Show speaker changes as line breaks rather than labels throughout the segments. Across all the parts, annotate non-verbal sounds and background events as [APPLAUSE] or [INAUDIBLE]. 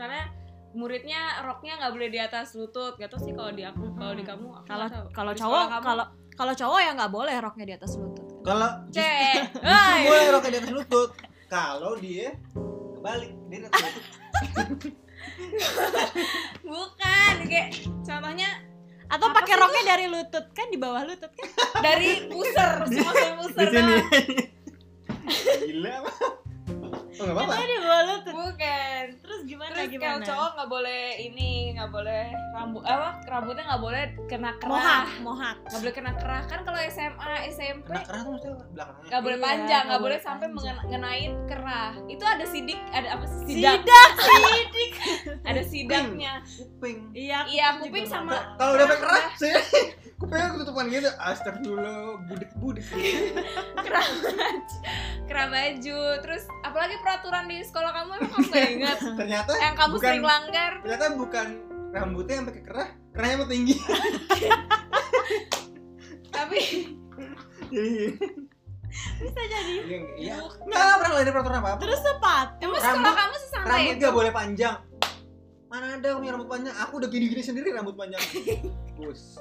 kan muridnya roknya nggak boleh di atas lutut gak tau sih kalau di aku kalau di kamu aku
kalau
nggak tahu.
kalau
Di
cowok
sekolah kamu,
kalau kalau cowok ya nggak boleh roknya di atas lutut
Kalau justru
cek Hai.
gue yang roknya di atas lutut. Kalau dia kebalik, dia di atas lutut.
bukan kayak contohnya
atau
Apa
pakai
sih
roknya dari lutut kan di bawah lutut kan
dari
[LAUGHS]
puser semua saya
Di
puser
sini.
tau.
Gila. apa? Oh, enggak apa-apa.
Katanya Iya, di bawah lutut
bukan
terus gimana
terus
gimana
kalau cowok nggak boleh ini nggak boleh rambut apa rambutnya nggak boleh kena
mohak
kerah
mohak
nggak boleh kena kerah kan kalau SMA SMP
Kena kerah tuh maksudnya apa? Belakangnya.
nggak boleh
Iya,
panjang
nggak
nggak boleh
boleh
sampai
panjang.
mengenain kerah itu ada sidik ada apa sih sidak
sidak sidik
ada sidaknya
Kuping.
iya
iya
juga
kuping
nggak
sama
boleh.
Kalau udah pakai kerah, sih. Kupingnya ketutupan gitu. Astagfirullah, budek-budek.
[LAUGHS] kerah baju kerah baju terus apalagi peraturan di sekolah kamu emang kamu
[LAUGHS]
nggak ingat
Ternyata
yang kamu
bukan
sering langgar
ternyata bukan rambutnya yang pakai kerah, kerahnya emang tinggi. [LAUGHS]
tapi
Jadi
bisa jadi
Iya, iya. Enggak pernah ada peraturan apa-apa.
terus sepat
emang sekolah
Rambut-
kamu sesantai
Rambut
itu
gak boleh panjang. Mana ada orang yang rambut panjang? Aku udah gini-gini sendiri rambut
[LAUGHS]
panjang. Bus.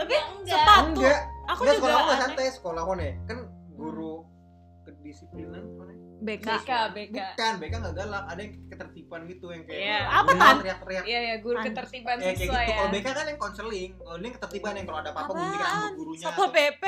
tapi
Ya, enggak
sepat tuh
Enggak,
aku
enggak sekolah
juga
aku gak
aneh
santai sekolah aku nih. Kan guru kedisiplinan mana?
BK
bega bega
Kan BK gak galak, ada yang ketertiban gitu yang kayak
Iya.
guru
Apa, Tan?
Teriak-teriak.
iya ya guru
An-
ketertiban
Eh, kayak gitu.
siswa ya
Kalau BK kan yang konseling, kalau ini ketertiban yang kalau ada apa-apa gunting
apaan
rambut gurunya.
satpol [LAUGHS] pp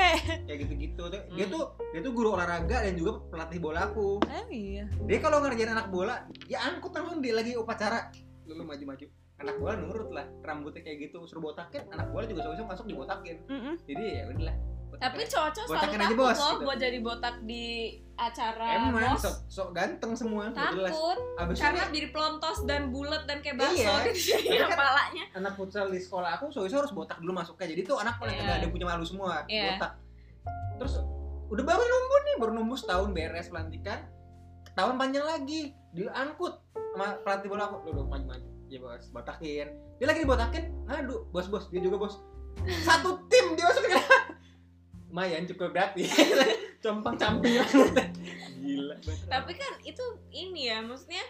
Kayak gitu-gitu. Dia
Hmm.
tuh dia tuh guru olahraga dan juga pelatih bola aku.
Eh, iya
Dia kalau ngerjain anak bola, ya angkut langsung dia lagi upacara. Lu lu maju-maju. Anak bola nurut lah, rambutnya kayak gitu, suruh botakin, anak bola juga suka masuk dibotakin.
Mm-mm.
Jadi ya udahlah. botakin.
tapi cowok-cowok selalu
Botakin aja,
takut
bos,
loh
gitu.
buat jadi botak di acara
emang
bos
sok, sok ganteng semua, udah jelas.
takut
Abis
karena [LAUGHS]
itu
jadi pelontos dan bulat dan kayak bakso
Iya.
gitu jadi
Tapi kan-
kepalanya
anak futsal di sekolah aku sore harus botak dulu masuknya. Jadi tuh anak paling
Iya.
yeah. ada punya malu semua,
Iya.
botak. Terus udah baru numbuh nih, baru numbuh setahun beres pelantikan. Tahun panjang lagi, diangkut sama pelatih bola aku. Lu lu maju-maju. Ya bos, botakin. Dia lagi dibotakin, ngadu. Bos-bos, dia juga bos. Satu tim dia masukin. Lumayan cukup gratis. [LAUGHS] Compang camping [LAUGHS] Gila. banget.
tapi kan itu ini ya maksudnya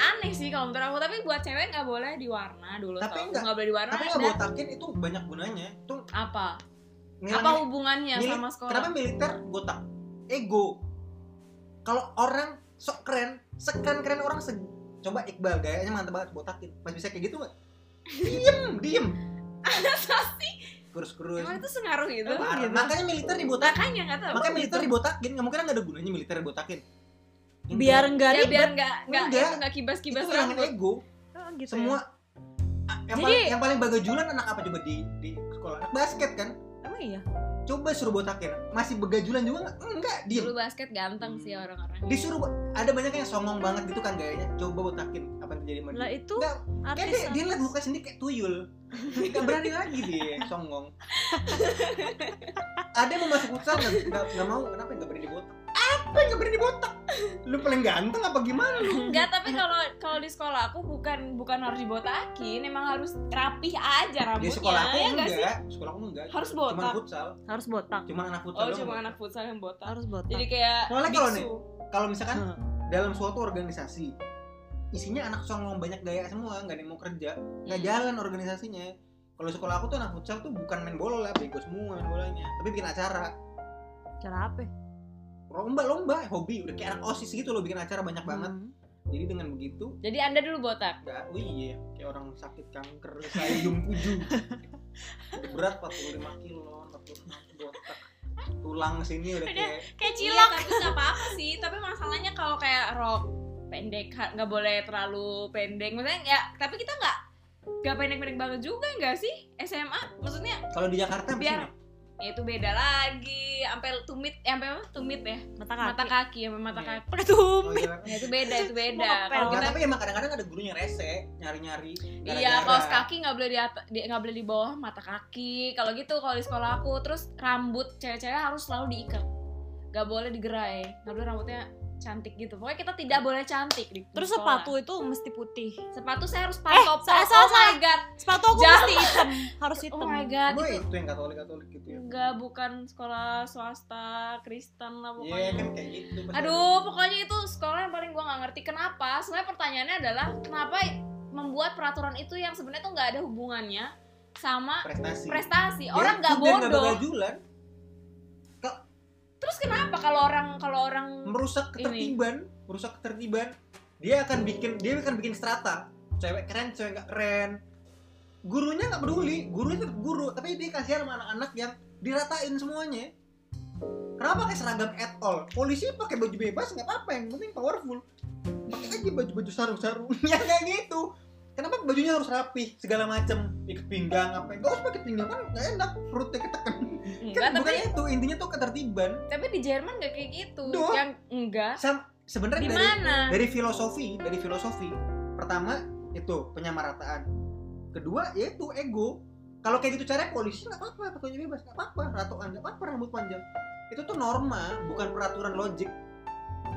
aneh sih kalau menurut aku tapi buat cewek nggak boleh diwarna dulu
Tapi
tau.
nggak-
nggak boleh diwarna
Tapi nggak
Nah, dan
botakin itu banyak gunanya. Itu
apa
ngilang-
apa hubungannya
Mili-
sama sekolah
Kenapa militer botak? Ego. Kalau orang sok keren, sekeren keren orang se coba Iqbal gayanya mantep banget botakin. Mas bisa kayak gitu nggak? Diem, diem.
Masa sih
Kurus kurus.
emang itu sengaruh gitu
Makanya militer dibotakin.
makanya gitu. nggak tahu
Makanya militer dibotakin. Nggak mungkin nggak ada gunanya militer dibotakin. Gitu.
biar enggak
ya biar
ribet
nggak nggak
Enggak.
itu nggak kibas
itu
kibas
hilangin
rambut
ego.
Oh, gitu ya.
Semua Ah, yang,
Jadi-
paling, yang paling bagajulan anak apa coba di di sekolah anak basket kan
emang iya
coba suruh botakin masih bagajulan juga nggak enggak diem Hmm.
dulu basket ganteng sih orang-orang
disuruh ada banyak yang songong banget gitu kan gayanya coba botakin apa yang terjadi sama
lah
iya,
dia
itu
Nggak, kayak
artis
dia, dia liat muka sendiri kayak tuyul gak berani lagi dia songong ada yang mau masuk futsal gak, gak, gak mau kenapa gak berani botak apa yang gak berani botak lu paling ganteng apa gimana
Enggak,
[LAUGHS]
tapi kalau kalau di sekolah aku bukan bukan harus dibotakin, emang harus rapih aja
di
rambutnya.
sekolah aku
ya nggak sih?
enggak sekolah aku enggak
Harus
cuman
botak.
futsal
harus botak
cuman anak futsal
Oh,
doang.
cuma anak futsal yang botak.
harus botak
Jadi kayak
Soalnya kalau nih-
biksu.
kalau misalkan
Hmm.
dalam suatu organisasi isinya anak songong banyak gaya semua nggak ada yang mau kerja nggak jalan organisasinya kalau sekolah aku tuh anak futsal tuh bukan main bola bego semua main bolanya tapi bikin acara
cara apa
lomba lomba hobi udah kayak anak osis gitu loh bikin acara banyak banget
Hmm.
jadi dengan begitu
Jadi Anda dulu botak.
nggak oh iya kayak orang sakit kanker saya jum puju berat 45 kilo 46 botak tulang sini udah kayak
kayak
Iya, tapi nggak apa-apa sih. Tapi masalahnya kalau kayak rok pendek ha- nggak boleh terlalu pendek. Maksudnya ya, tapi kita nggak nggak pendek-pendek banget juga nggak sih SMA? Maksudnya
kalau di Jakarta
Biar-
biar
ya itu beda lagi. Sampai tumit, ya, sampai apa? tumit ya.
Iya, mata kaki
Mata kaki, sampai mata
Iya.
kaki.
pakai
oh,
tumit
iya.
Ya itu beda,
[LAUGHS]
itu beda.
Mau ngepel.
Kalau
Nah,
kita
tapi emang kadang-kadang ada gurunya rese nyari-nyari
Iya,
gara-gara.
kaos kaki nggak boleh di at- di- nggak boleh di bawah mata kaki. Kalau gitu kalau di sekolah aku terus rambut cewek-cewek harus selalu diikat. Nggak boleh digerai. Nggak boleh rambutnya cantik gitu. Pokoknya kita tidak boleh cantik di di
terus
sekolah.
sepatu itu mesti putih
Sepatu saya harus pantop.
Eh, salah,
oh
salah,
my god.
sepatu aku
Jangan.
mesti hitam harus
[LAUGHS] Oh
hitam
my god.
gue
Itu
itu yang katolik katolik gitu ya
enggak bukan sekolah swasta Kristen lah
Iya
pokoknya.
kan kayak gitu. pasti.
Aduh, pokoknya itu sekolah yang paling gua nggak ngerti kenapa. Sebenarnya pertanyaannya adalah kenapa membuat peraturan itu yang sebenarnya tuh nggak ada hubungannya sama
prestasi
prestasi
Ya,
orang nggak
sudah
bodoh
bagajulan
terus kenapa kalau orang kalau orang
merusak ketertiban merusak ketertiban dia akan bikin dia akan bikin strata cewek keren cewek nggak keren gurunya nggak peduli gurunya tetap guru tapi dia kasihan sama anak-anak yang diratain semuanya kenapa pakai seragam at all polisi pakai baju bebas nggak apa-apa yang penting powerful pakai aja baju-baju sarung-sarung [LAUGHS] ya kayak gitu kenapa bajunya harus rapih segala macem ikat pinggang apa nggak usah pakai pinggang kan nggak enak perutnya ketekan
enggak
kan
tapi
bukan itu intinya tuh ketertiban
tapi di Jerman nggak kayak gitu
Duh.
yang enggak
Sam, sebenarnya
di
dari
mana
dari filosofi dari filosofi pertama itu penyamarataan kedua yaitu ego kalau kayak gitu caranya polisi nggak apa-apa pokoknya bebas nggak apa-apa ratuan nggak apa-apa rambut panjang itu tuh norma bukan peraturan logik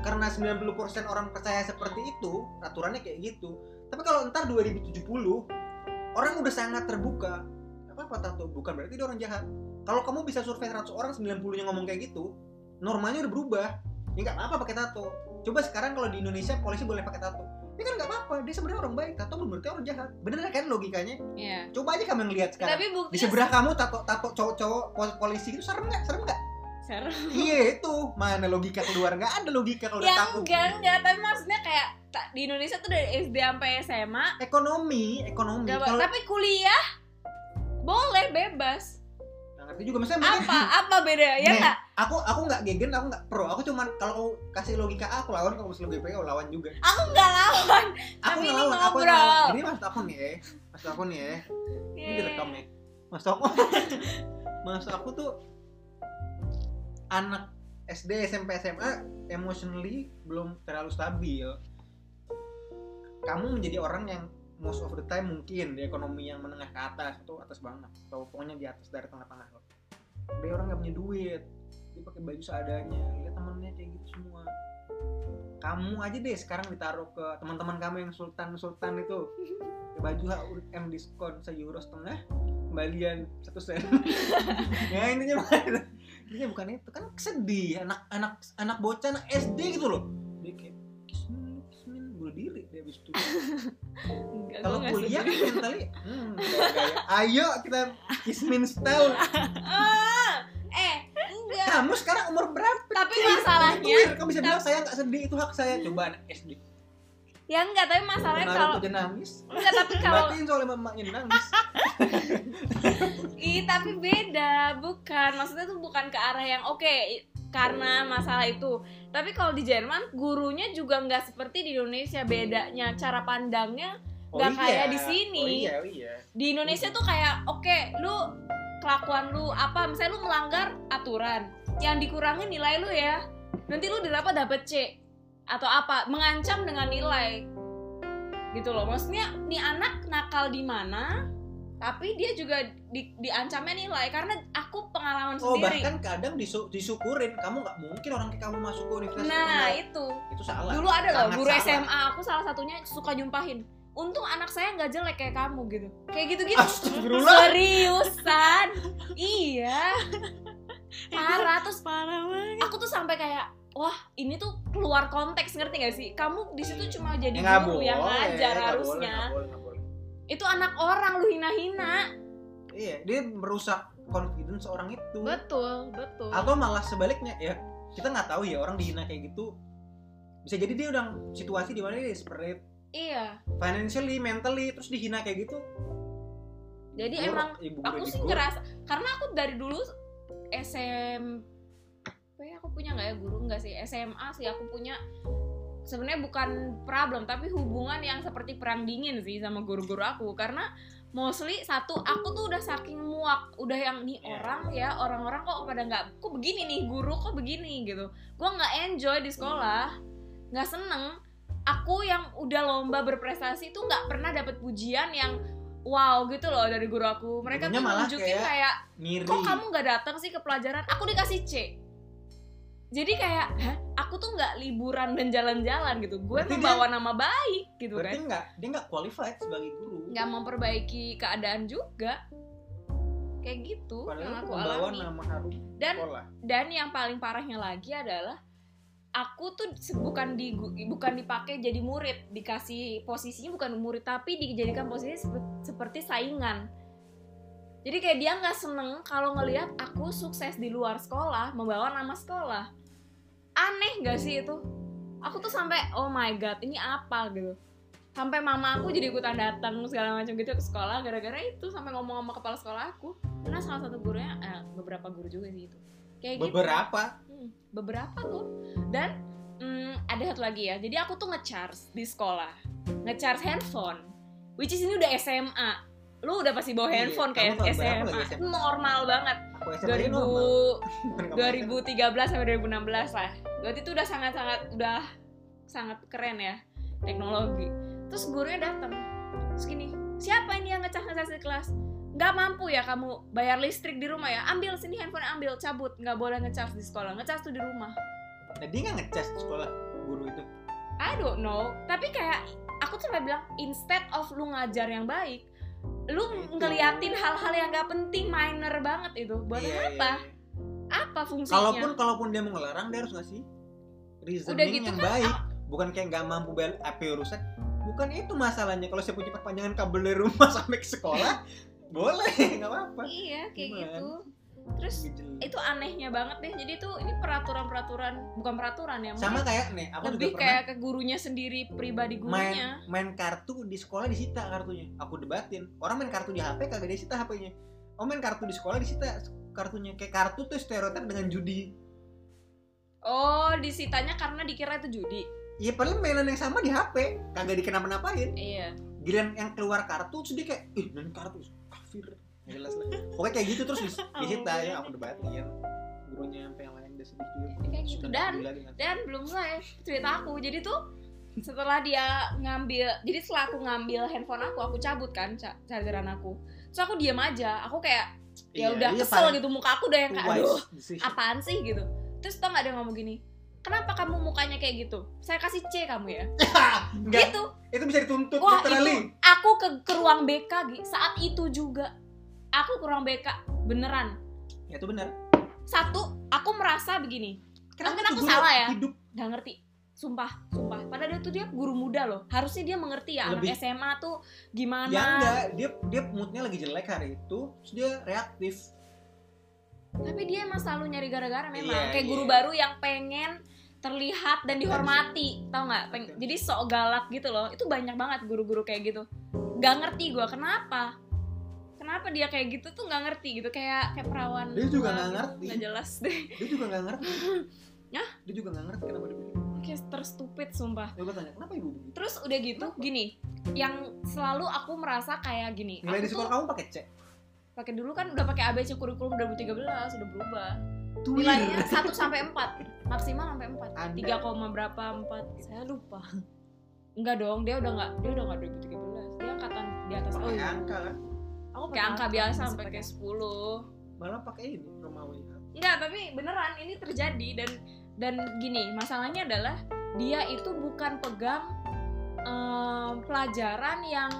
karena 90% orang percaya seperti itu aturannya kayak gitu tapi kalau ntar 2070 orang udah sangat terbuka nggak apa-apa tato bukan berarti dia orang jahat kalau kamu bisa survei 100 orang 90 nya ngomong kayak gitu normanya udah berubah ya nggak apa-apa pakai tato coba sekarang kalau di Indonesia polisi boleh pakai tato ini kan nggak apa-apa dia sebenarnya orang baik tato belum berarti orang jahat bener kan logikanya
ya
coba aja kamu ngelihat sekarang
tapi bukti
di sebelah kamu tato tato cowok-cowok pol- polisi itu serem nggak serem nggak iya itu mana logika keluar nggak ada logika kalau udah
yang
takut
Ya, enggak enggak tapi maksudnya kayak ta- di Indonesia tuh dari SD sampai SMA
ekonomi ekonomi
nggak
Hmm, kalau
ba- tapi kuliah boleh bebas
nggak ngerti juga maksudnya mungkin- [LAUGHS]
apa apa beda ya
Nih,
nggak
aku aku nggak gegen aku nggak pro aku cuman kalau kamu kasih logika A, aku lawan kalau kasih logika B, aku lawan juga
aku nggak lawan
aku
Tapi ini
ngelawan aku
ngobrol.
ngelawan ini maksud aku nih ya maksud aku nih ya ini
Iya.
direkam ya maksud aku [LAUGHS] maksud aku tuh anak SD SMP SMA emotionally belum terlalu stabil kamu menjadi orang yang most of the time mungkin di ekonomi yang menengah ke atas atau atas banget atau pokoknya di atas dari tengah-tengah loh tapi orang nggak punya duit dia pakai baju seadanya lihat temennya kayak gitu semua kamu aja deh sekarang ditaruh ke teman-teman kamu yang sultan sultan itu Pakai baju H&M diskon seeuro setengah kembalian satu sen
[LAUGHS]
ya intinya bukan itu intinya bukan itu kan sedih anak anak anak bocah anak SD gitu loh dia kayak kismin kismin bunuh diri
[LAUGHS]
dia habis itu
Enggak, gua
kalau
nggak
kuliah
setuju.
kan mentally hmm, gaya-gaya. ayo kita kismin setahun
Ah, eh enggak
kamu sekarang umur berapa
tapi masalahnya
Queer, kamu bisa bilang saya nggak sedih itu hak saya coba anak SD
ya enggak tapi masalahnya Hmm. kalau
menaruh aja nangis
enggak tapi kalau
batin soalnya mamanya nangis
Ih, tapi beda, bukan. Maksudnya tuh bukan ke arah yang oke i- karena masalah itu. Tapi kalau di Jerman gurunya juga nggak seperti di Indonesia bedanya cara pandangnya. Nggak kayak di sini.
oh iya oh iya
Di Indonesia tuh kayak oke, lu kelakuan lu apa? Misalnya lu melanggar aturan, yang dikurangi nilai lu ya. Nanti lu dapat dapet C atau apa? Mengancam dengan nilai. Gitu loh. Maksudnya nih anak nakal di mana? Tapi dia juga di, diancamnya nilai karena aku pengalaman
Oh
sendiri.
bahkan kadang disu- disyukurin kamu nggak mungkin orang kayak kamu masuk ke universitas
Nah
terkenal.
itu
itu salah.
dulu ada loh
Sangat
guru
salah.
SMA aku salah satunya suka nyumpahin. Untung anak saya nggak jelek kayak kamu gitu. Kayak gitu-gitu.
Astagfirullah.
Seriusan? iya. Parah terus
Parah banget.
aku tuh sampai kayak wah ini tuh keluar konteks ngerti gak sih? Kamu di situ cuma jadi
Ya, nggak
guru yang
boleh,
ngajar
nggak boleh,
harusnya.
nggak boleh, nggak boleh.
Itu anak orang lu hina-hina.
Iya, dia merusak confidence orang itu.
Betul, betul.
Atau malah sebaliknya ya. Kita nggak tahu ya orang dihina kayak gitu. Bisa jadi dia udah situasi di mana dia desperate
Iya.
financially, mentally terus dihina kayak gitu.
Jadi
Buruk,
emang
ibu guru
aku sih
digo.
ngerasa karena aku dari dulu SMP aku punya nggak ya guru nggak sih SMA sih aku punya sebenarnya bukan problem tapi hubungan yang seperti perang dingin sih sama guru-guru aku karena mostly satu aku tuh udah saking muak udah yang nih
Iya.
orang ya orang-orang kok pada nggak kok begini nih guru kok begini gitu gua nggak enjoy di sekolah nggak seneng aku yang udah lomba berprestasi tuh nggak pernah dapet pujian yang wow gitu loh dari guru aku mereka tuh
Gurunya malah
nunjukin
kayak-
kayak
Ngiri.
kok kamu nggak datang sih ke pelajaran aku dikasih C jadi kayak "Hah? aku tuh nggak liburan dan jalan-jalan gitu gue
Berarti
membawa nama baik gitu
Berarti
kan
nggak dia nggak qualified sebagai guru.
nggak memperbaiki keadaan juga kayak gitu
Padahal
yang aku
membawa
alami Kan
nama harum
dan
sekolah.
dan yang paling parahnya lagi adalah aku tuh se- bukan di bukan dipakai jadi murid dikasih posisinya bukan murid tapi dijadikan posisi sepe- seperti saingan jadi kayak dia nggak seneng kalau ngelihat aku sukses di luar sekolah membawa nama sekolah aneh nggak sih itu aku tuh sampai oh my god ini apa gitu sampai mama aku jadi ikutan datang segala macam gitu ke sekolah gara-gara itu sampai ngomong sama kepala sekolah aku karena salah satu gurunya eh, beberapa guru juga sih itu kayak gitu
beberapa
Hmm, beberapa tuh dan hmm, ada satu lagi ya jadi aku tuh ngecharge di sekolah ngecharge handphone which is ini udah SMA lu udah pasti bawa
Iya,
handphone kayak
kamu tahun berapa
SMA.
lagi SMA?
normal banget
aku SMA ini normal.
2000
Bukan kamu
2013 sampai 2016 lah. Berarti itu udah sangat-sangat udah sangat keren ya teknologi. Terus gurunya datang. Terus gini, siapa ini yang ngecas-ngecas di kelas? Nggak mampu ya kamu bayar listrik di rumah ya? Ambil sini handphone ambil, cabut. Nggak boleh ngecas di sekolah, ngecas tuh di rumah.
SMA. nah, dia nggak ngecas di sekolah guru itu
I don't know. Tapi kayak aku tuh sampai bilang instead of lu ngajar yang baik, lu
Gitu.
ngeliatin hal-hal yang nggak penting minor banget itu. Buat
Iya, iya,
apa?
iya.
Apa fungsinya?
kalaupun kalaupun dia mau ngelarang dia harus ngasih reasoning
Udah gitu
yang
kan,
baik bukan kayak nggak mampu bayar HP rusak bukan itu masalahnya kalau saya punya perpanjangan kabel dari rumah [LAUGHS] sampai ke sekolah boleh nggak apa-apa
Iya, kayak
Gimana?
gitu. Terus
Gitu.
itu anehnya banget deh. Jadi tuh ini peraturan-peraturan, bukan peraturan ya.
sama
mungkin
kayak nih aku
lebih
juga pernah
kayak ke gurunya sendiri, pribadi gurunya.
main main kartu di sekolah disita kartunya aku debatin orang main kartu di HP kagak disita HP-nya oh main kartu di sekolah disita kartunya kayak kartu tuh stereotip dengan judi
Oh, disitanya karena dikira itu judi.
Iya padahal mainan yang sama di HP kagak dikenapa-napain
Iya.
giliran yang keluar kartu terus dia kayak ih main kartu kafir Nggak jelas lah pokoknya kayak gitu terus [LAUGHS] dis- disita ya aku debatin gurunya sampai yang lain udah sedih juga
Kayak gitu. Dan-
gak peduli lagi nggak-
Dan belum selesai cerita
Hmm.
aku. Jadi tuh setelah dia ngambil, jadi setelah aku ngambil handphone aku, aku cabut kan ca- chargeran aku. Terus aku diam aja. Aku kayak ya
Iya,
udah
iya,
kesel
paling
gitu muka aku udah yang kayak
wise
aduh.
decision.
apaan sih gitu terus tau gak ada yang ngomong gini kenapa kamu mukanya kayak gitu saya kasih C kamu ya
Nggak,
gitu
itu bisa dituntut
wah
literally
itu aku ke, ke ruang BK Gi. saat itu juga aku ke ruang BK beneran
ya itu benar
satu aku merasa begini Mungkin
tuh
aku
guru
salah ya?
hidup
nggak ngerti sumpah sumpah padahal dia tuh dia guru muda loh harusnya dia mengerti ya
Lebih-
anak SMA tuh gimana
ya enggak dia dia moodnya lagi jelek hari itu terus dia reaktif
tapi dia emang selalu nyari gara-gara memang
Iya,
kayak
iya.
guru baru yang pengen terlihat dan dihormati tau nggak Peng-
Betul.
jadi sok galak gitu loh itu banyak banget guru-guru kayak gitu nggak ngerti gua kenapa kenapa dia kayak gitu tuh nggak ngerti gitu kayak kayak perawan
Dia juga
tua
nggak
gitu.
ngerti.
nggak jelas deh [LAUGHS]
dia juga nggak ngerti
Hah?
dia juga nggak ngerti kenapa dia begitu
kayak terstupid sumpah
gue tanya kenapa ibu begitu
terus udah gitu gini yang selalu aku merasa kayak gini aku
nilai di sekolah
tuh
kamu pakai C
pakai dulu kan udah pakai ABC kurikulum 2013 udah berubah
Tuir.
nilainya 1 sampai 4 maksimal sampai 4
Anda-
tiga oh, koma berapa empat
Saya lupa.
[LAUGHS] enggak dong dia udah nggak dia udah nggak 2013 dia angkatan di atas oh
pakai
iya.
angka kan
Aku
kayak angka biasa
masih
sampai kayak 10
malah pakai ini Romawi
enggak tapi beneran ini terjadi dan dan gini masalahnya adalah dia itu bukan pegang em, pelajaran yang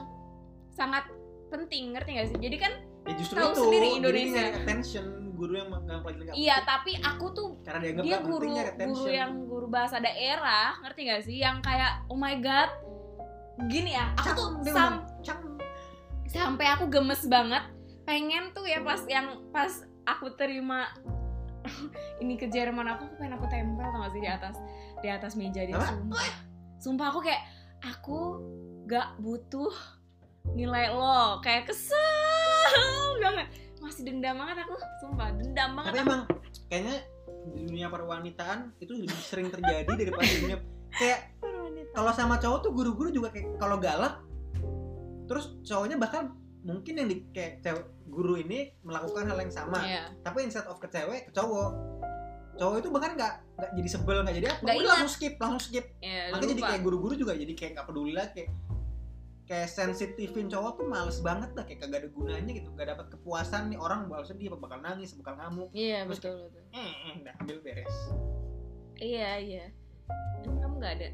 sangat penting ngerti gak sih jadi kan
ya justru
Tahu
itu
sendiri
guru
Indonesia.
nyari attention guru yang nggak pelajaran nggak
iya
penting.
tapi aku tuh
karena dianggap
dia
nggak
guru
penting nyari
guru
attention
yang guru bahasa daerah ngerti gak sih yang kayak oh my god gini ya aku
Cang,
tuh
dia
sam
ngomong, cang.
sampai aku gemes banget pengen tuh ya pas yang pas aku terima [LAUGHS] ini ke Jerman aku, aku pengen aku tempel tau gak sih di atas di atas meja dia
Apa?
sumpah sumpah aku kayak aku gak butuh nilai lo kayak kesel banget masih dendam banget aku sumpah dendam
tapi
banget
emang kayaknya di dunia perwanitaan itu lebih sering terjadi daripada di dunia kayak kalau sama cowok tuh guru-guru juga kayak kalau galak terus cowoknya bahkan mungkin yang di kayak cewek- guru ini melakukan hal yang sama
Iya.
tapi instead of ke cewek ke cowok cowok itu bahkan nggak nggak jadi sebel nggak jadi apa
Nggak
udah
ingat.
langsung skip langsung skip
Iya,
makanya jadi
lupa.
kayak guru-guru juga jadi kayak nggak peduli lah kayak kayak sensitifin cowok tuh males banget lah kayak kagak ada gunanya gitu gak dapat kepuasan nih orang bakal sedih apa bakal nangis bakal ngamuk
iya
terus
betul betul
hmm, udah ambil beres
iya iya Emang kamu gak ada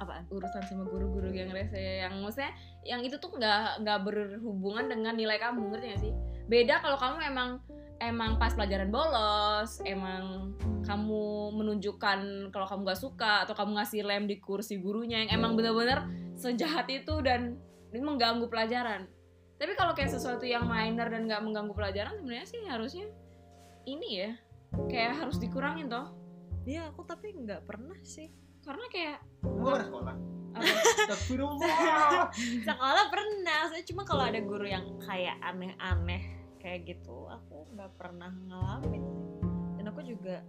Apaan?
urusan sama guru-guru yang rese yang maksudnya yang itu tuh nggak nggak berhubungan dengan nilai kamu ngerti gak sih beda kalau kamu emang emang pas pelajaran bolos emang kamu menunjukkan kalau kamu gak suka atau kamu ngasih lem di kursi gurunya yang emang bener-bener sejahat itu dan ini mengganggu pelajaran tapi kalau kayak sesuatu yang minor dan nggak mengganggu pelajaran sebenarnya sih harusnya ini ya kayak harus dikurangin toh
Iya, aku tapi nggak pernah sih.
karena kayak
Gue pernah sekolah.
Apa? [LAUGHS]
Astagfirullah.
Sekolah pernah, saya cuma kalau ada guru yang kayak aneh-aneh kayak gitu, aku nggak pernah ngalamin. Dan aku juga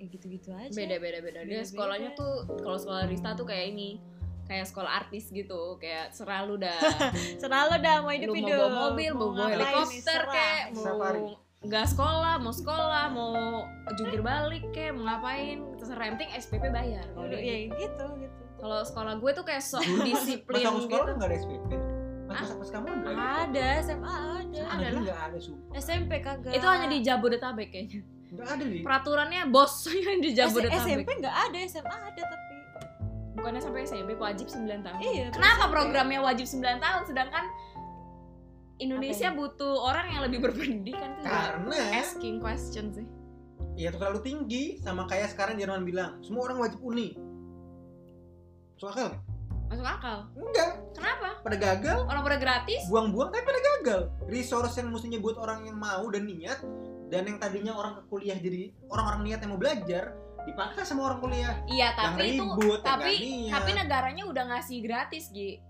ya gitu-gitu aja.
beda beda beda dia
Beda-beda.
sekolahnya tuh kalau sekolah Rista tuh kayak ini kayak sekolah artis gitu kayak selalu
[LAUGHS]
dah
Selalu dah mau hidup
lu mau
hidup.
bawa mobil mau bawa
ngapain,
helikopter
terserah.
kayak
Safari.
mau nggak sekolah mau sekolah mau jungkir balik kayak mau ngapain terserah yang penting SPP bayar kalau
Dulu
dia
ya
gitu.
gitu gitu.
kalau sekolah gue tuh kayak
[LAUGHS]
sok disiplin
Pas aku
gitu
sekolah nggak ada SPP. Pas pas kamu ada.
Ada SMA ada.
Ada nggak ada sumpah.
SMP kagak.
itu hanya di Jabodetabek kayaknya
Nggak ada di.
peraturannya bos [LAUGHS] yang di
SMP
Jabodetabek
nggak ada, SMA ada tapi.
bukannya sampai SMP wajib 9 tahun
Iya.
kenapa programnya wajib 9 tahun sedangkan Indonesia
ya?
butuh orang yang lebih berpendidikan tuh juga
Karena
asking question sih
ya itu terlalu tinggi sama kayak sekarang Jerman bilang semua orang wajib uni. Masuk akal? nggak?
masuk akal
Enggak.
kenapa
Pada gagal,
orang pada gratis
buang-buang tapi pada gagal. Resource yang mestinya buat orang yang mau dan niat dan yang tadinya orang ke kuliah jadi orang-orang niat yang mau belajar dipaksa sama orang kuliah
iya tapi
yang
itu
ribut, yang
tapi
nggak niat.
tapi negaranya udah ngasih gratis Gi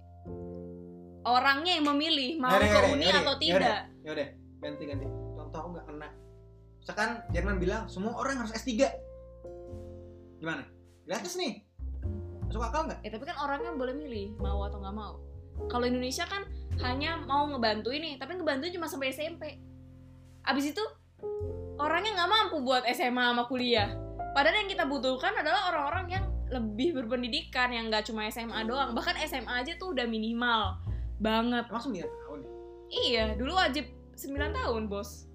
orangnya yang memilih mau
Yaudah,
ke
yaudah,
uni
yaudah,
atau
yaudah.
tidak
ya udah ganti ganti contoh aku nggak kena misalkan Jerman bilang semua orang harus S3 gimana gratis nih masuk akal nggak
ya tapi kan orangnya boleh milih mau atau nggak mau kalau Indonesia kan hanya mau ngebantu ini tapi ngebantu cuma sampai SMP abis itu orangnya nggak mampu buat SMA sama kuliah padahal yang kita butuhkan adalah orang-orang yang lebih berpendidikan yang nggak cuma SMA doang bahkan SMA aja tuh udah minimal banget
emang 9 tahun ya?
iya dulu wajib 9 tahun bos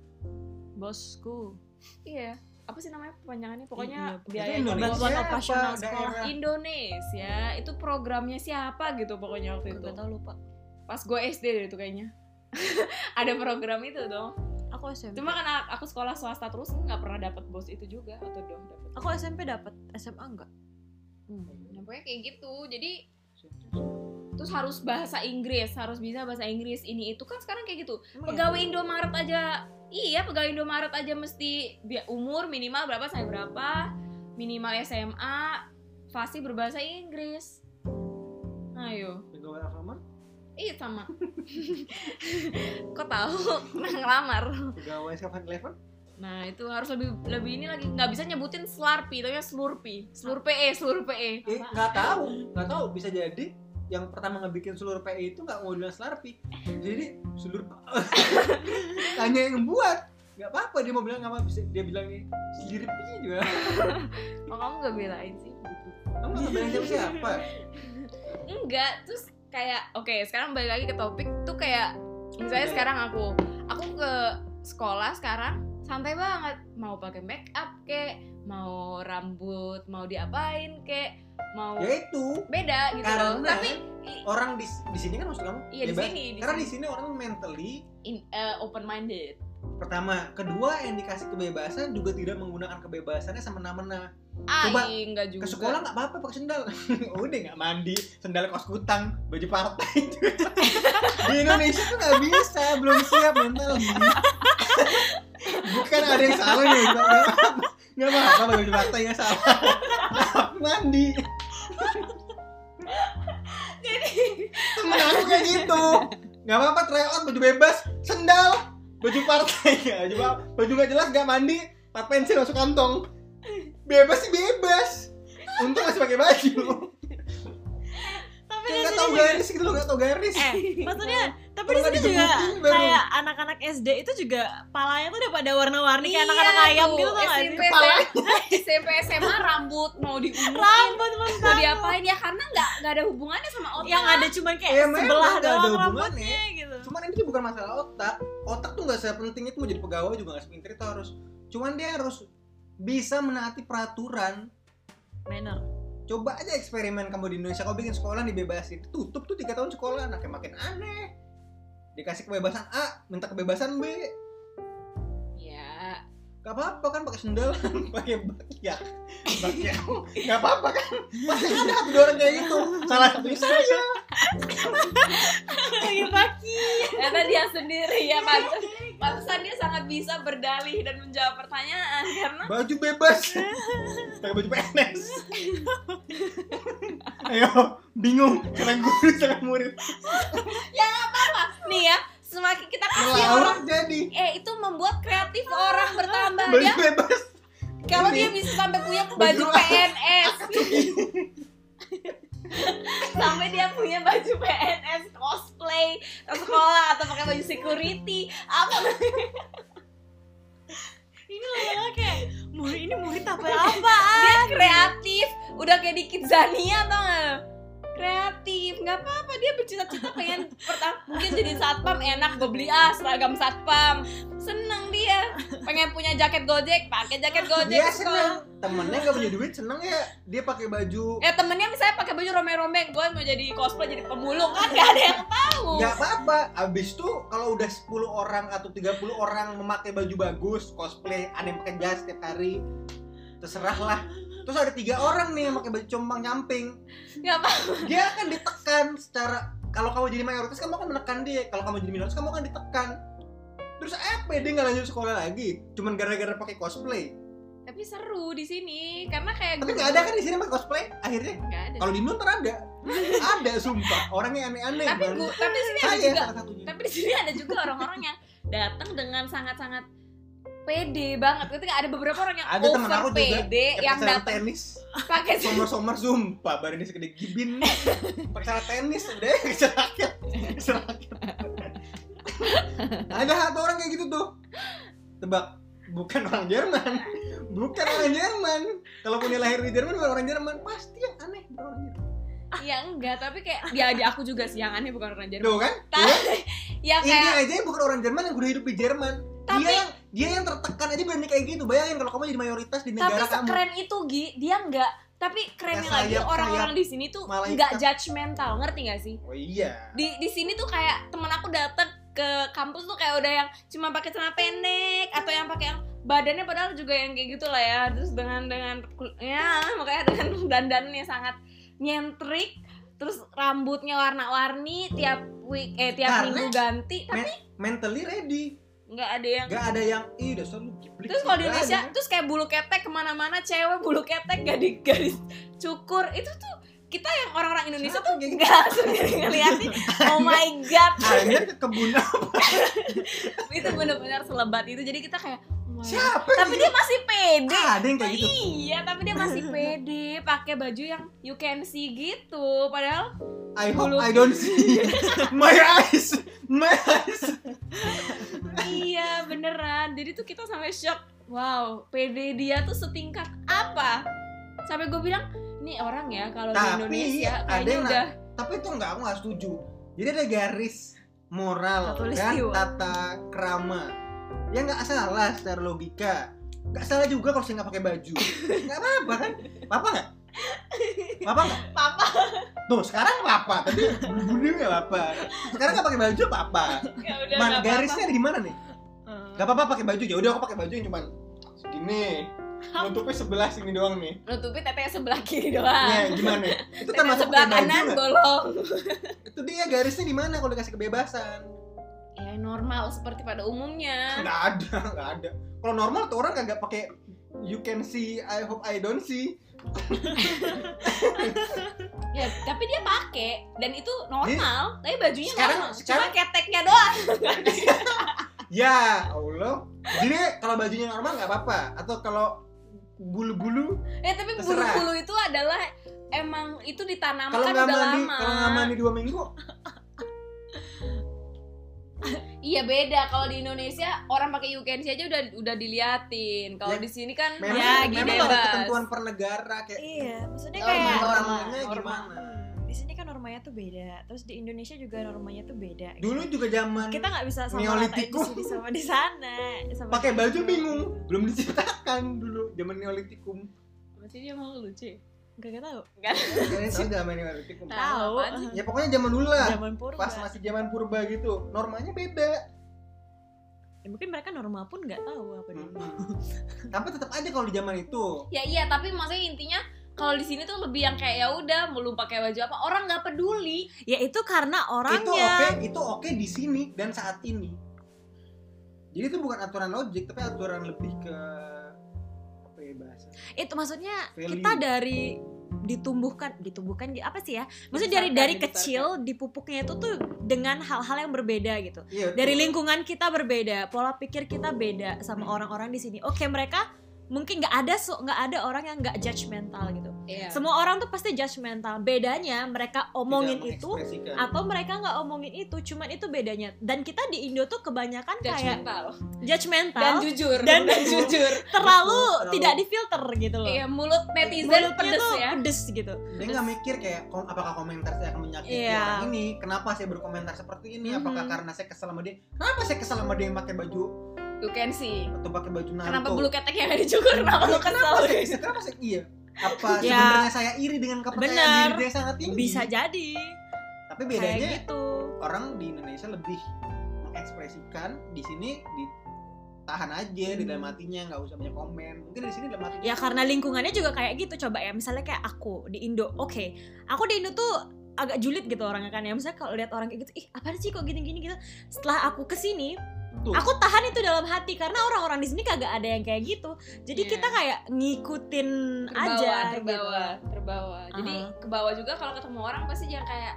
Bosku.
iya apa sih namanya perpanjangannya pokoknya
Iya, pokoknya
biaya
Indonesia
bantuan
apa
operasional
daerah? gitu.
sekolah.
Indonesia itu programnya siapa gitu pokoknya waktu itu
Gak tau lupa.
pas gue SD deh itu [LAUGHS] kayaknya ada program itu dong
Aku SMP.
cuma karena aku sekolah swasta terus nggak pernah dapet bos itu juga atau dong dapet
Aku SMP dapat SMA enggak?
Hmm.
Nah, pokoknya kayak gitu jadi terus harus bahasa Inggris harus bisa bahasa Inggris ini itu kan sekarang kayak gitu
ya?
pegawai Indomaret aja iya pegawai Indomaret aja mesti bi- umur minimal berapa saya berapa minimal SMA pasti berbahasa Inggris ayo
pegawai Alfamart
iya sama [LAUGHS] kok tahu [LAUGHS] Pernah ngelamar
pegawai 7-Eleven
Nah itu harus lebih lebih ini lagi nggak bisa nyebutin slarpi, tapi E, slurpi, slurpe, slurpe.
eh nggak tahu nggak tahu bisa jadi yang pertama ngebikin seluruh PE itu nggak mau bilang Slarpi jadi [LAUGHS] seluruh hanya yang buat nggak apa-apa dia mau bilang nggak apa dia bilang sendiri juga
Oh kamu nggak belain sih?
kamu nggak bilang
Iya.
siapa siapa
Enggak, terus kayak oke sekarang balik lagi ke topik tuh kayak misalnya
Iya.
sekarang aku aku ke sekolah sekarang santai banget mau pakai make up kek mau rambut mau diapain kek mau
ya itu
beda gitu loh
Karena-
tapi i-
orang di di sini kan maksud kamu
Iya, di
bebas.
sini, di
karena
sini.
di sini orang mentally
in- eh, open minded
pertama kedua yang dikasih kebebasan juga tidak menggunakan kebebasannya semena-mena
ah
Coba,
iya, enggak juga
ke sekolah nggak apa-apa pakai sendal [LAUGHS] udah nggak mandi sendal kos kutang baju partai juga. [LAUGHS] di Indonesia tuh nggak bisa belum siap mental bukan ada yang salah nih nggak apa-apa. nggak apa-apa kalau baju partai yang salah [LAUGHS] mandi temen aku kayak gitu nggak apa-apa try out baju bebas sendal baju partai [LAUGHS] ya baju baju nggak jelas nggak mandi empat pensil masuk kantong bebas sih bebas untung masih pakai baju
Tapi di
Iya, nggak
sini
tau
juga-
garis gitu loh nggak tau garis
Eh, maksudnya tapi di
Kalau nggak
sini juga
digebukin baru.
kayak anak-anak SD itu juga palanya tuh udah pada warna-warni kayak anak-anak
Iya,
ayam
tuh,
gitu tuh nggak
SMP,
sih?
SMP SMA rambut mau diumur
Rambut
mau
mentah.
diapain ya karena nggak nggak ada hubungannya sama otak
Yang ada cuman kayak
Ya, memang
sebelah
nggak ada
doang
hubungannya.
rambutnya gitu.
cuman ini tuh bukan masalah otak otak tuh nggak sepenting itu mau jadi pegawai juga nggak sepinter itu harus cuman dia harus bisa menaati peraturan
Manner.
coba aja eksperimen kamu di Indonesia kau bikin sekolah dibebasin tutup tuh tiga tahun sekolah anaknya makin aneh dikasih kebebasan A minta kebebasan B
ya
Gak apa-apa kan pakai sendal, [LAUGHS] pakai ya. bakyak, bakyak. Gak apa-apa kan? Pasti ada satu dua orang kayak gitu. Salah satunya saya.
Lagi pagi.
Karena dia sendiri ya pantas. Pantesan dia sangat bisa berdalih dan menjawab pertanyaan karena
Baju
[LAUGHS]
bebas, pakai baju PNS. Ayo, bingung. Karena guru sama murid.
nih ya semakin kita kasih orang
Melawan jadi.
eh itu membuat kreatif orang bertambah
Baju
dia
bebas.
kalau
ini.
dia bisa sampai punya baju
Baju apa?
PNS [LAUGHS] sampai dia punya baju PNS cosplay ke sekolah atau pakai baju security apa
Ini lama kayak murid ini murid apa ya?
[LAUGHS]
apa?
dia kreatif udah kayak dikit Zania tau gak kreatif nggak apa-apa dia bercita-cita pengen pertama mungkin jadi satpam enak gue beli ah seragam satpam seneng dia pengen punya jaket gojek pakai jaket gojek
Dia
ke sekolah
seneng. Iya Temennya gak punya duit seneng ya. Dia pakai baju.
ya temennya misalnya pakai baju rombeng-rombeng gue mau jadi cosplay jadi pemulung kan gak ada yang tahu
Gak apa-apa, abis itu kalau udah 10 orang atau 30 orang memakai baju bagus, cosplay, ada yang pakai jas tiap hari, terserah lah. Terus ada tiga orang nih yang pakai baju compang nyamping,
nggak apa
dia akan ditekan secara kalau kamu jadi mayoritas kamu akan menekan dia, kalau kamu jadi minoritas kamu akan ditekan. Terus apa ya, dia nggak lanjut sekolah lagi, cuman gara-gara pakai cosplay.
tapi seru di sini karena kayak
Tapi
guru-
nggak ada kan di sini pakai cosplay akhirnya.
nggak ada
Kalau di Indo ntar ada, ada sumpah orang yang aneh-aneh.
tapi
Bang.
gua- tapi di sini ada
saya
juga
salah satunya.
tapi di sini ada juga orang-orang yang datang dengan sangat-sangat pede banget ketika ada beberapa orang yang
Ada temen
over
aku juga,
pede
Kayak
yang
pacaran
datang
tenis.
pakai
Somar-somar sumpah badannya segede gibin Pakai cara tenis udah [LAUGHS] ya keserakain Keserakain Ada satu orang kayak gitu tuh Tebak Bukan orang Jerman Bukan orang Jerman Kalaupun dia lahir di Jerman bukan orang Jerman Pasti yang aneh bukan orang Jerman
ya enggak tapi kayak dia di aku juga sih yang aneh bukan orang Jerman
Tuh kan
tapi [LAUGHS] ya
Ini
kayak
aja yang bukan orang Jerman yang udah hidup di Jerman Dia
tapi
yang dia yang tertekan aja berani kayak gitu Bayangin kalau kamu jadi mayoritas di
tapi
negara kamu
sekeren itu Gi dia enggak tapi kerennya
Kayak
lagi
sayap-sayap
orang-orang di sini tuh
malaikat.
enggak judgmental ngerti gak sih
Oh iya
di di sini tuh kayak temen aku datang ke kampus tuh kayak udah yang cuma pakai celana pendek atau yang pakai yang badannya padahal juga yang kayak gitu lah ya terus dengan dengan kul- ya makanya dengan [LAUGHS] dandannya sangat nyentrik terus rambutnya warna-warni tiap week eh tiap
Karena-
minggu ganti tapi
Mentally ready
nggak ada yang
Gak ada yang Ih dasar lu kiblik
terus kalau di
Nggak ada
Indonesia
kan?
terus kayak bulu ketek kemana-mana cewek bulu ketek gadis gadis cukur itu tuh kita yang orang-orang Indonesia tuh
gitu.
nggak sendiri ngeliatin oh my god
Akhirnya ke kebun
itu bener-bener selebat itu jadi kita kayak "Wah."
Siapa
tapi dia masih pede
Ah, ada yang kayak gitu.
iya tapi dia masih pede pakai baju yang you can see gitu padahal
I hope
Bulu.
I
[LAUGHS]
don't see my eyes, my eyes.
iya beneran jadi tuh kita sampai shock wow pede dia tuh setingkat apa sampai gue bilang nih orang ya kalau di
Tapi
Indonesia
ada
kayaknya
yang
udah
Tapi itu enggak, aku nggak setuju. Jadi ada garis moral dan
Katulistiwa.
tata krama. Ya nggak salah secara logika. Nggak salah juga kalau saya nggak pakai
[LAUGHS]
baju. Nggak apa-apa kan? Papa nggak? Papa nggak?
papa
Tuh sekarang papa. Tadi dulu nggak papa. Sekarang nggak pakai baju papa.
ya udah nggak
Man,
apa-apa
garisnya ada di mana nih? Gak apa-apa pakai baju. Ya udah aku pakai baju yang cuman segini. Nutupnya sebelah sini doang nih.
nutupi tetes sebelah kiri doang
Ya, gimana? ya? Itu
Tetes
termasuk
sebelah
pakai baju
kanan
nggak?
bolong
Itu dia garisnya di mana kalau dikasih kebebasan?
ya normal seperti pada umumnya
Nggak ada, nggak ada. Kalau normal tuh orang kagak pakai you can see, I hope I don't see.
Ya, tapi dia pakai dan itu normal. tapi bajunya
Iya. Sekarang-
normal.
sekarang-
Cuma keteknya doang.
Ya Allah. Jadi kalau bajunya normal nggak apa-apa. Atau kalau bulu-bulu,
Ya, tapi
Terserah.
bulu-bulu itu adalah emang itu ditanamkan
kalau
kan udah
nggak mandi,
lama.
kalau nggak mandi dua minggu,
Iya beda. Kalau di Indonesia orang pakai UKNC aja udah udah diliatin. Kalau
Ya,
di sini kan
memang,
ya gini
memang ada
bebas.
ketentuan per negara kayak
Iya, maksudnya
Normal.
kayak
orangnya
Normal.
gimana.
Hmm, di sini kan normanya tuh beda. Terus di Indonesia juga normanya tuh beda. gitu.
Dulu juga zaman
kita nggak bisa sama ratain di
Neolitikum.
sini sama di sana. Sama
pakai
di
baju
situ.
bingung, belum diciptakan dulu zaman neolitikum.
Berarti dia mau lucu. ya?
Nggak nggak tahu.
Kalian tahu zaman neolitikum.
Tahu.
Tahu. eh,
apaan sih?
Ya pokoknya zaman dulu lah.
Zaman purba.
Pas masih zaman purba gitu, normanya beda.
Ya, mungkin mereka normal pun nggak tahu apa
Hmm.
dulu.
tapi tetap aja kalau di zaman itu
ya iya tapi maksudnya intinya kalau di sini tuh lebih yang kayak ya udah belum pakai baju apa orang nggak peduli
Ya itu karena
itu oke
orangnya.
itu oke di sini dan saat ini jadi itu bukan aturan logik tapi aturan lebih ke apa ya bahasa
Itu maksudnya
Value.
kita dari ditumbuhkan ditumbuhkan di- apa sih ya? Maksudnya dari
Dibesarkan,
dari
dibesarkan.
kecil dipupuknya itu tuh dengan hal-hal yang berbeda gitu.
Iya,
dari
betul.
lingkungan kita berbeda, pola pikir kita beda sama orang-orang di sini. Oke, mereka mungkin nggak ada so- nggak ada orang yang nggak judgmental gitu.
Iya.
Semua orang tuh pasti judgmental. Bedanya mereka
Tidak
omongin itu
mengekspresikan.
atau mereka nggak omongin itu, cuman itu bedanya. Dan kita di Indo tuh kebanyakan kayak
judgmental dan
judgmental,
jujur
Dan
jujur
terlalu
Terlalu-
tidak difilter gitu loh.
iya mulut netizen
Mulutnya
pedes
tuh
ya
pedes gitu.
dia nggak mikir kayak "Kom- apakah komentar saya akan menyakiti
Iya.
orang ini kenapa saya berkomentar seperti ini apakah
Mhm.
karena saya kesel sama dia kenapa saya kesel sama dia yang pakai baju
you can see
atau pakai baju Naruto
kenapa
[LAUGHS]
bulu keteknya nggak dicukur kenapa
Iya,
lo kesel
kenapa saya, kenapa saya iya apa
[LAUGHS] Ya.
sebenarnya saya iri dengan kepercayaan
Benar.
diri dia yang sangat tinggi
Bisa jadi
tapi bedanya
kayak gitu.
orang di Indonesia lebih mengekspresikan di sini ditahan aja di dalam hatinya nggak usah banyak komen mungkin di sini dalam hati
Hmm. ya karena lingkungannya juga kayak gitu coba ya misalnya kayak aku di Indo oke aku di Indo tuh agak julid gitu orangnya kan ya misalnya kalau lihat orang kayak gitu ih apaan sih kok gini-gini gitu setelah aku kesini
Tuh.
aku tahan itu dalam hati karena orang-orang di sini kagak ada yang kayak gitu jadi
Iya.
kita kayak ngikutin aja
terbawa terbawa
gitu
terbawa jadi
Aha.
ke bawah juga kalau ketemu orang pasti jangan kayak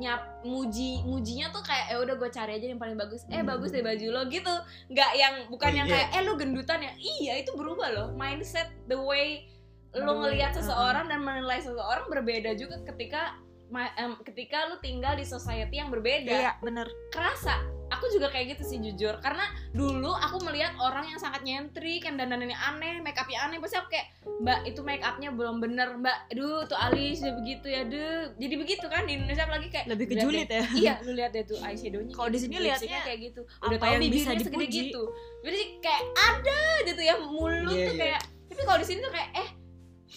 nyap muji mujinya tuh kayak eh udah gue cari aja yang paling bagus eh
Hmm.
bagus deh baju lo gitu nggak yang bukan
Oh,
yang
iya.
kayak eh lo gendutan ya iya itu berubah loh mindset the way
The
lo
way,
ngelihat
uh-uh.
seseorang dan menilai seseorang berbeda juga ketika ma- em, ketika lu tinggal di society yang berbeda
iya bener
kerasa aku juga kayak gitu sih jujur karena dulu aku melihat orang yang sangat nyentrik yang dandanannya aneh make upnya aneh pasti aku kayak mbak itu make upnya belum bener mbak aduh tuh alis udah begitu ya deh jadi begitu kan di Indonesia apalagi
[LAUGHS]
kayak
lebih ke
lihat
julid ya
deh- iya lu lihat deh tuh eyeshadownya
Kalau di sini
gitu, lipsticknya
lihatnya
kayak gitu udah
apa
tau
yang bisa
bibirnya segede
dipuji.
gitu jadi sih kayak ada aja tuh ya mulut
Iya,
tuh
iya.
kayak tapi kalau di sini tuh kayak eh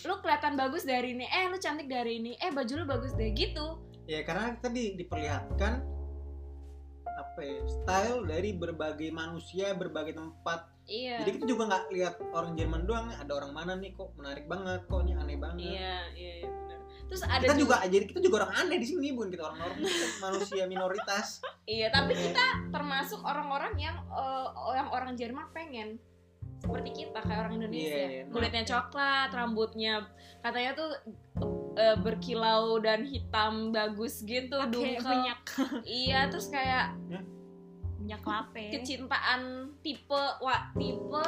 lu kelihatan bagus dari ini eh lu cantik dari ini eh baju lu bagus deh gitu
ya karena tadi diperlihatkan apa ya, style dari berbagai manusia berbagai tempat
iya
jadi kita juga nggak lihat orang Jerman doang ada orang mana nih kok menarik banget kok ini aneh banget
iya iya iya, benar terus ada
kita juga jadi kita juga orang aneh di sini bukan kita orang normal kita [LAUGHS] manusia minoritas
Iya, tapi kita termasuk orang-orang yang eh, yang orang Jerman pengen seperti kita kayak orang Indonesia.
Iya, iya.
Kulitnya coklat, rambutnya katanya tuh eh, berkilau dan hitam bagus gitu,
Pakai
dungkel.
minyak
Iya, terus kayak
minyak lape
kecintaan tipe wa tipe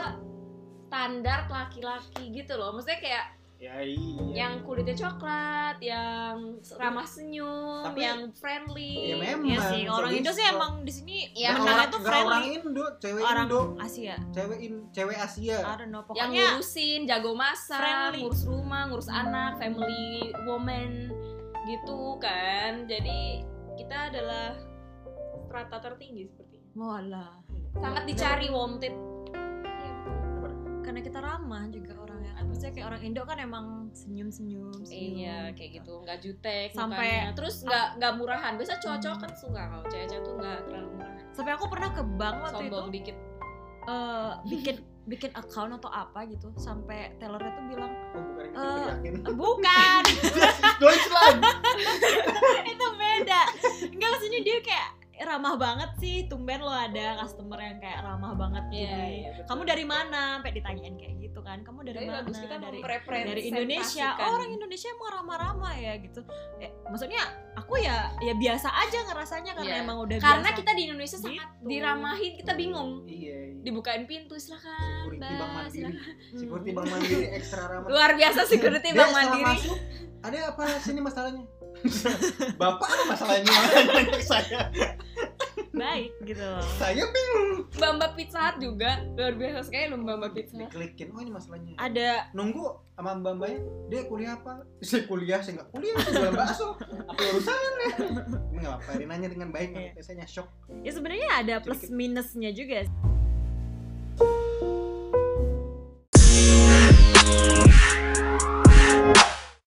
standar laki-laki gitu loh. Maksudnya kayak
ya iya
yang kulitnya coklat, yang ramah senyum,
Tapi-
yang friendly.
ya memang
Iya sih orang
Jadi
Indo sih
kalau-
emang di sini
Iya,
nggak
menangnya
orang-
tuh
nggak orang
friendly
Indo cewek
Orang-
Indo
Asia
cewek in, cewek Asia
Ah.
I don't know
yang
pokoknya
ngurusin, jago masak,
Friendly.
ngurus rumah, ngurus anak, family woman gitu kan. Jadi kita adalah strata tertinggi sepertinya.
Walah.
Sangat dicari Iya, wanted.
karena kita ramah juga orangnya kan maksudnya kayak orang Indo kan emang senyum senyum,
Iya, kayak gitu. Nggak jutek
Sampai-
mukanya. Terus nggak nggak murahan. Biasa cowok-cowok kan suka kalau cewek-cewek tuh nggak terlalu murahan.
sampai aku pernah ke bank waktu
Sombong
itu
dikit.
eh,
[LAUGHS]
bikin bikin account atau apa gitu sampai tellernya tuh bilang
oh, bukan yang
Eh,
kita
[LAUGHS]
yakin
"Eh, bukan
Deutschland
itu beda enggak maksudnya dia kayak ramah banget sih tumben lo ada customer yang kayak ramah banget
Iya,
gini.
iya, betul.
kamu dari mana sampai ditanyain kayak gitu kan kamu dari
Tapi
mana
bagus kita
dari
memprepresentasikan.
dari Indonesia oh, orang Indonesia emang ramah-ramah ya gitu Eh, maksudnya aku ya ya biasa aja ngerasanya karena
Iya.
emang udah
Karena
biasa.
kita di Indonesia sangat
Gitu.
diramahin, kita bingung.
iya iya
Dibukain pintu silakan.
security
Mbak,
bank mandiri
silakan.
Hmm.
security bank mandiri ekstra ramah
Luar biasa security
Dia
Bank
setelah
Mandiri.
masuk, ada apa sini masalahnya bapak apa [LAUGHS] masalahnya Nanya ke saya
baik gitu loh.
saya
Iya.
bingung
Mbak Mbak Pizza Hut juga luar biasa sekali loh Mbak Mbak Pizza Hut.
diklikin oh ini masalahnya
ada
nunggu sama mbak mbaknya dia kuliah apa saya kuliah saya nggak kuliah saya jualan bakso apa urusannya ini nggak apa-apa dia nanya dengan baik
Iya.
biasanya shock
ya sebenarnya ada plus minusnya juga